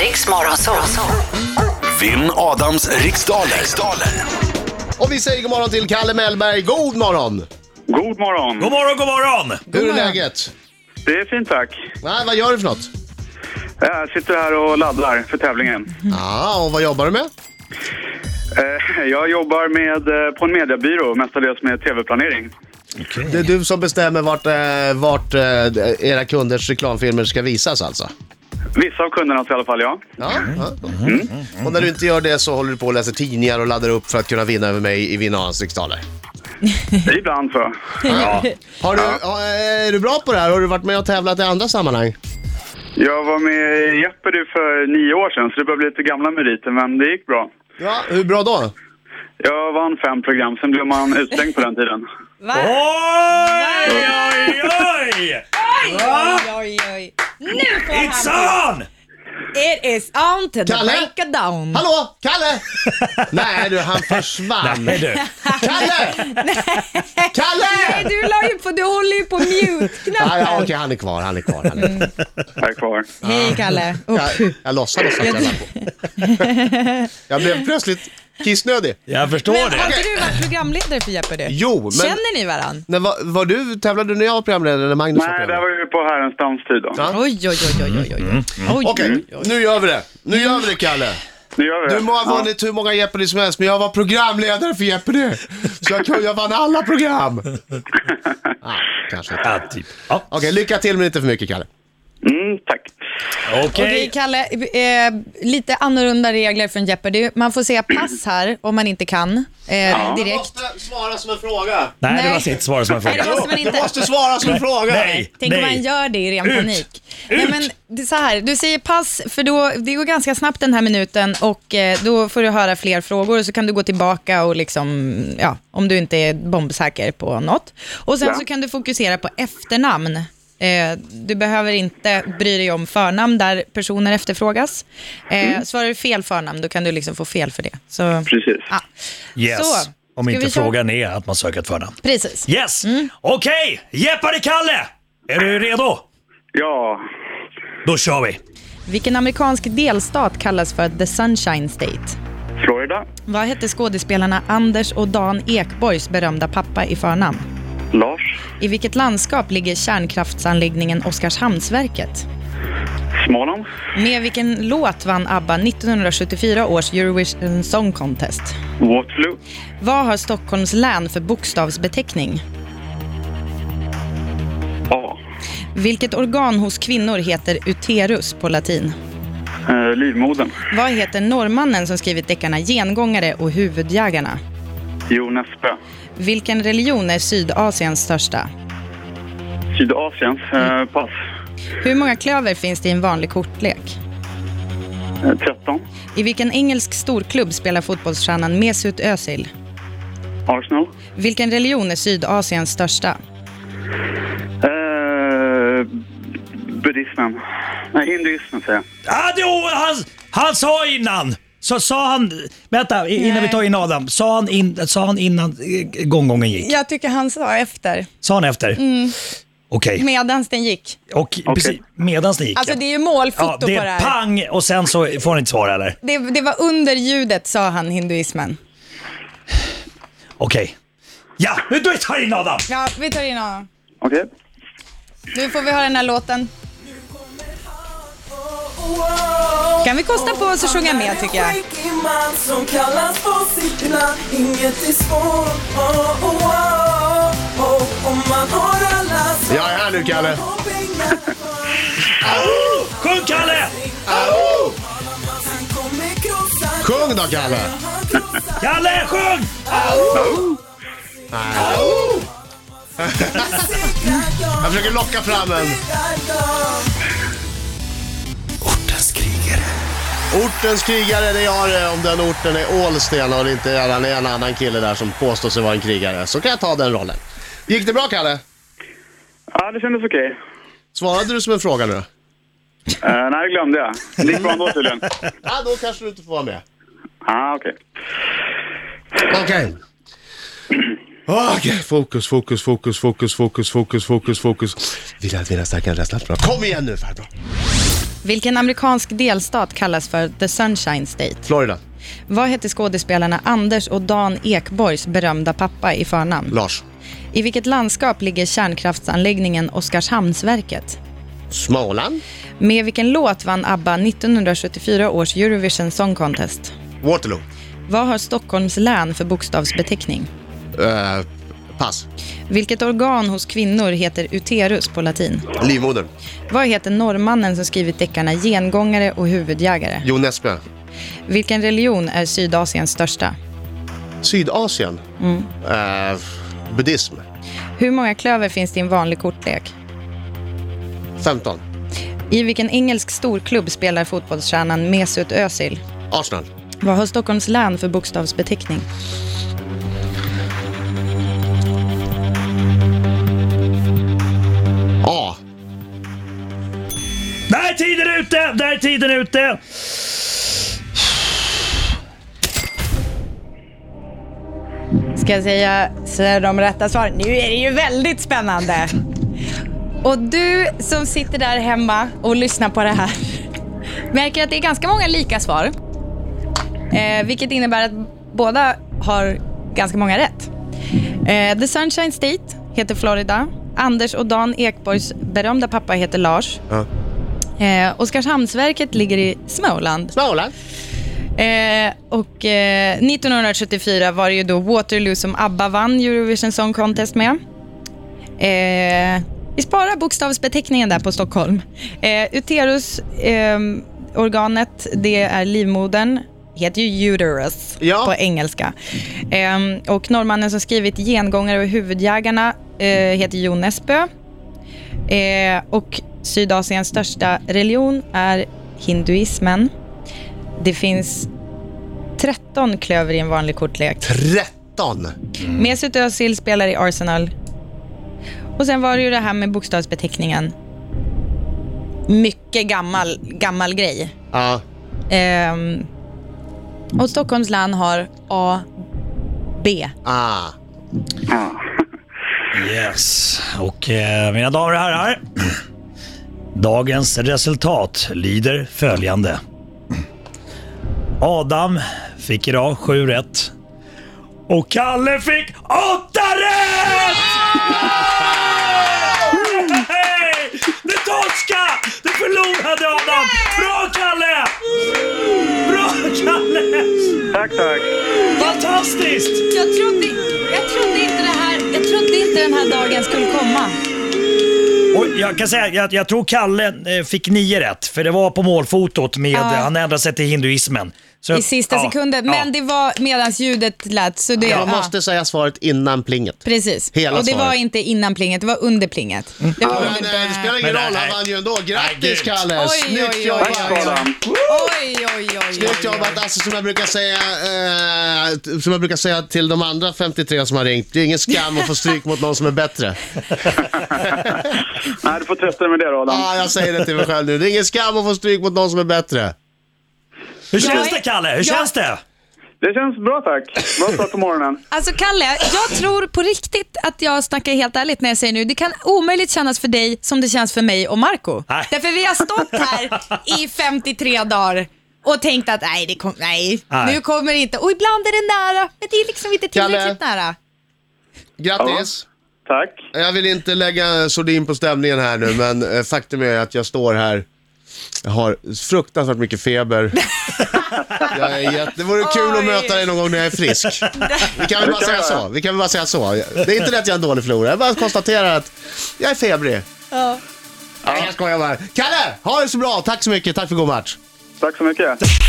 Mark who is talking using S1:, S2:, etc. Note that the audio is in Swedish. S1: Riks Morgonzoo.
S2: Vinn Adams riksdaler. riksdaler.
S3: Och vi säger god morgon till Kalle Mellberg. God morgon!
S4: God morgon.
S5: God morgon, god morgon!
S3: Hur är läget?
S4: Det är fint tack.
S3: Nej, vad gör du för något?
S4: Jag sitter här och laddar för tävlingen.
S3: Ja, Ah, och vad jobbar du med?
S4: Eh, Jag jobbar med, eh, på en mediebyrå, mestadels med tv-planering.
S3: Det är du som bestämmer vart, eh, vart eh, era kunders reklamfilmer ska visas alltså?
S4: Vissa av kunderna i alla fall, ja.
S3: Ja. ja. Mm. Och när du inte gör det så håller du på och läser tidningar och laddar upp för att kunna vinna över mig i Vinna hans riksdaler.
S4: Ibland så.
S5: Ja.
S3: Har du, ja, eh, är du bra på det här? Har du varit med och tävlat i andra sammanhang?
S4: Jag var med i Jeopardy för nio år sedan, så det börjar bli lite gamla meriter, men det gick bra.
S3: Ja. Hur bra då?
S4: Jag vann fem program, sen blev man utslängd på den tiden.
S6: Va?
S5: Oj, oj, oj!
S6: Oj, oj, oj, oj. Nu får
S5: It's
S6: han...
S5: on!
S6: It is on to the
S3: Kalle?
S6: breakdown.
S3: Hallå, Kalle! Nej du, han försvann.
S5: Nej du,
S3: Kalle!
S6: Nej,
S3: Kalle!
S6: du, la ju på, du håller ju på
S3: Ja,
S6: mute-knappen.
S3: ja, Okej, han är kvar, han är kvar. Han är kvar.
S4: Här kvar.
S6: Hej Kalle. Oh.
S3: Jag, jag låtsades att jag la på. Jag blev plötsligt kissnödig.
S5: jag förstår
S6: Men har
S5: det.
S6: inte du varit programledare för Jeopardy?
S3: Jo, men-
S6: Känner ni varann?
S3: När, var, var du, tävlade du när jag var programledare eller Magnus
S4: Nej, det här
S3: programledare?
S4: var ju på herrens danstid då.
S3: Ja.
S6: Oj, oj, oj, oj, oj, oj. oj.
S3: Okej, nu gör vi det. Nu gör vi det, Kalle.
S4: Nu gör vi det.
S3: Du må ha vunnit hur många Jeopardy som helst, men jag var programledare för Jeopardy. Så jag, kunde- jag vann alla program. Ah, kanske inte.
S5: Ja, typ. Ja.
S3: Okej, lycka till men inte för mycket, Kalle.
S4: Ja. Mm, tack.
S6: Okej
S5: Okej.
S6: Kalle, eh, lite annorlunda regler från Jeopardy. Man får säga pass här om man inte kan eh, direkt.
S3: svara som en fråga.
S5: Nej, det
S6: Nej.
S5: var sitt svar som jag
S6: Nej, det
S5: frågade.
S6: måste man inte.
S3: svara som en fråga.
S5: Nej,
S6: Tänk om man
S5: nej.
S6: gör det i ren
S5: Ut!
S6: panik. Nej, men det är så här, du säger pass, för då, det går ganska snabbt den här minuten och eh, då får du höra fler frågor och så kan du gå tillbaka och liksom, ja, om du inte är bombsäker på något. Och sen
S4: Ja.
S6: så kan du fokusera på efternamn. Eh, du behöver inte bry dig om förnamn där personer efterfrågas. Eh,
S5: Mm.
S6: Svarar du fel förnamn, då kan du liksom få fel för det. Så,
S4: Precis.
S3: Ah.
S6: ja.
S5: Yes.
S6: Så,
S5: Om
S6: ska
S5: inte
S6: vi köra- Mm.
S5: frågan är att man söker ett förnamn.
S6: Precis.
S5: Yes! Okej, Jeopardy-Kalle! Är du redo?
S4: Ja.
S5: Då kör vi.
S6: Vilken amerikansk delstat kallas för The Sunshine State?
S4: Florida.
S6: Vad hette skådespelarna Anders och Dan Ekborgs berömda pappa i förnamn?
S4: Lars.
S6: I vilket landskap ligger kärnkraftsanläggningen Oskarshamnsverket?
S4: Småland.
S6: Med vilken låt vann ABBA 1974 års Eurovision Song Contest?
S4: Waterloo.
S6: Vad har Stockholms län för bokstavsbeteckning?
S4: A.
S6: Vilket organ hos kvinnor heter uterus på latin?
S4: Eh, livmodern.
S6: Vad heter norrmannen som skrivit deckarna Gengångare och Huvudjägarna?
S4: Jonas Bö.
S6: Vilken religion är Sydasiens största?
S4: Sydasiens. Eh, pass.
S6: Hur många klöver finns det i en vanlig kortlek?
S4: Eh, 13.
S6: I vilken engelsk storklubb spelar fotbollsstjärnan Mesut Özil?
S4: Arsenal.
S6: Vilken religion är Sydasiens största?
S4: Eh, buddhismen. Nej, hinduismen säger jag.
S5: Ah, jo, han, han sa innan. Så sa han, vänta i- innan vi tar in Adam, sa han, in, sa han innan eh, gånggången gick?
S6: Jag tycker han sa efter,
S5: Sa han efter?
S6: Mm.
S5: Okej,
S6: medans den gick.
S5: och precis medans ni gick.
S6: Alltså
S5: ja.
S6: det är ju
S5: ja,
S6: målfoto
S5: det
S6: på det
S5: är
S6: här.
S5: pang och sen så får han inte svara eller?
S6: Det, det var under ljudet sa han hinduismen.
S5: Okej. Ja, nu tar jag in Adam!
S6: Ja, vi tar in honom.
S4: Okej.
S6: Nu får vi höra den här låten. Kan vi kosta på oss att sjunga med tycker jag?
S7: Skäggig man som kallas på sitt namn. Inget är svårt, oh, oh, oh, oh. Om man har alla svar
S3: Jag är här nu, Kalle.
S7: och pengar för.
S5: Sjung Kalle!
S3: Au!
S7: Han kommer krossa,
S3: Sjung då, Kalle.
S7: han krossar.
S5: Kalle, sjung!
S3: Jag försöker locka fram en.
S2: Ortens krigare.
S3: Ortens krigare, det är jag det. Om den orten är Ålsten och det inte är en, en annan kille där som påstår sig vara en krigare, så kan jag ta den rollen. Gick det bra, Kalle?
S4: Ja, det kändes okej.
S3: Svarade du som en fråga nu då?
S4: Eh, nej, det glömde jag. Det gick bra ändå tydligen.
S3: Ja, då kanske du inte får vara med.
S4: Ah, okej.
S3: Okej. Okej, fokus, fokus, fokus, fokus, fokus, fokus, fokus, fokus. Vill att vinna starkare än rädslan. Bra. Kom igen nu farbror.
S6: Vilken amerikansk delstat kallas för The Sunshine State?
S3: Florida.
S6: Vad hette skådespelarna Anders och Dan Ekborgs berömda pappa i förnamn?
S3: Lars.
S6: I vilket landskap ligger kärnkraftsanläggningen Oskarshamnsverket?
S3: Småland.
S6: Med vilken låt vann ABBA 1974 års Eurovision Song Contest?
S3: Waterloo.
S6: Vad har Stockholms län för bokstavsbeteckning?
S3: Eh, pass.
S6: Vilket organ hos kvinnor heter uterus på latin?
S3: Livmodern.
S6: Vad heter norrmannen som skrivit deckarna Gengångare och Huvudjägare?
S3: Jon Nesbø.
S6: Vilken religion är Sydasiens största?
S3: Sydasien. Eh, buddhism.
S6: Hur många klöver finns det i en vanlig kortlek?
S3: 15.
S6: I vilken engelsk storklubb spelar fotbollsstjärnan Mesut Özil?
S3: Arsenal.
S6: Vad har Stockholms län för bokstavsbeteckning?
S3: A.
S5: Där är tiden ute! Där är tiden ute!
S6: Ska jag säga så är de rätta svaren? Nu är det ju väldigt spännande. Och du som sitter där hemma och lyssnar på det här märker att det är ganska många lika svar. Eh, vilket innebär att båda har ganska många rätt. Eh, The Sunshine State heter Florida. Anders och Dan Ekborgs berömda pappa heter Lars.
S3: Ja.
S6: Eh, Oskarshamnsverket ligger i Småland.
S3: Småland.
S6: Eh, och eh, 1974 var det ju då Waterloo som ABBA vann Eurovision Song Contest med. Eh, vi sparar bokstavsbeteckningen där på Stockholm. Eh, uterus, ehm, organet, det är livmodern. Heter ju uterus
S3: Ja.
S6: på engelska. Ehm, och norrmannen som skrivit Gengångare och huvudjägarna eh, heter Jon Nesbø. Eh, och Sydasiens största religion är hinduismen. Det finns 13 klöver i en vanlig kortlek.
S3: 13.
S6: Mesut Özil spelar i Arsenal. Och sen var det ju det här med bokstavsbeteckningen. Mycket gammal, gammal grej.
S3: Ja.
S6: Ehm, och Stockholms län har A, B.
S3: Ah.
S5: Yes, och eh, mina damer och herrar. Dagens resultat lyder följande. Adam fick idag sju rätt. Och Kalle fick åtta rätt! Hey! Det torska! Det förlorade Adam! Bra Kalle! Bra Kalle!
S4: Tack, tack.
S5: Fantastiskt!
S6: Jag trodde, jag trodde, inte, det här, jag trodde inte den här dagen skulle komma.
S5: Och jag kan säga, jag, jag tror Kalle eh, fick nio rätt, för det var på målfotot med, han ändrade sig till hinduismen. Så-
S6: I sista
S5: ja,
S6: sekunden,
S5: ja.
S6: men det var medan ljudet lät. Så det,
S3: Jag
S6: ja.
S3: måste säga svaret innan plinget.
S6: Precis.
S3: Hela
S6: och det
S3: svaret.
S6: var inte innan plinget, det var under plinget. Det var
S3: Men,
S6: under
S3: eh, det spelar ingen
S5: Men,
S3: roll, han
S5: nej.
S3: vann ju ändå.
S5: Nej,
S3: Grattis
S5: gud.
S3: Kalle!
S6: Oj, oj,
S3: Snyggt
S6: oj,
S3: jobbat!
S4: Tack, Adam.
S6: Oj, oj, oj, oj.
S3: Snyggt jobbat! Alltså som jag brukar säga, eh, t- som jag brukar säga till de andra 53 som har ringt, det är ingen skam att få stryk mot någon som är bättre.
S4: Nej, du får trösta dig med det, då, Adam.
S3: Ja, jag säger det till mig själv nu. Det är ingen skam att få stryk mot någon som är bättre.
S5: Hur känns
S6: Jag-
S5: det Kalle? Hur
S6: jag-
S5: känns det?
S4: Det känns bra, tack. Bra start på morgonen.
S1: Alltså Kalle, jag tror på riktigt att jag snackar helt ärligt när jag säger nu, det kan omöjligt kännas för dig som det känns för mig och Marco.
S5: Nej.
S1: Därför vi har stått här i 53 dagar och tänkt att nej, det kom, nej,
S5: Nej.
S1: nu kommer det inte. Och ibland är det nära, men det är liksom inte tillräckligt nära.
S3: Grattis!
S4: Tack.
S3: Jag vill inte lägga sordin på stämningen här nu, men eh, faktum är att jag står här. Jag har fruktansvärt mycket feber. Jag är jätte... Det vore kul att
S1: Oj.
S3: möta dig någon gång när jag är frisk. Vi kan väl bara säga så. Vi kan väl bara säga så. Det är inte det att jag är en dålig förlorare. Jag bara konstaterar att jag är febrig. Ja. Jag skojar bara. Kalle, ha det så bra. Tack så mycket. Tack för god match.
S4: Tack så mycket.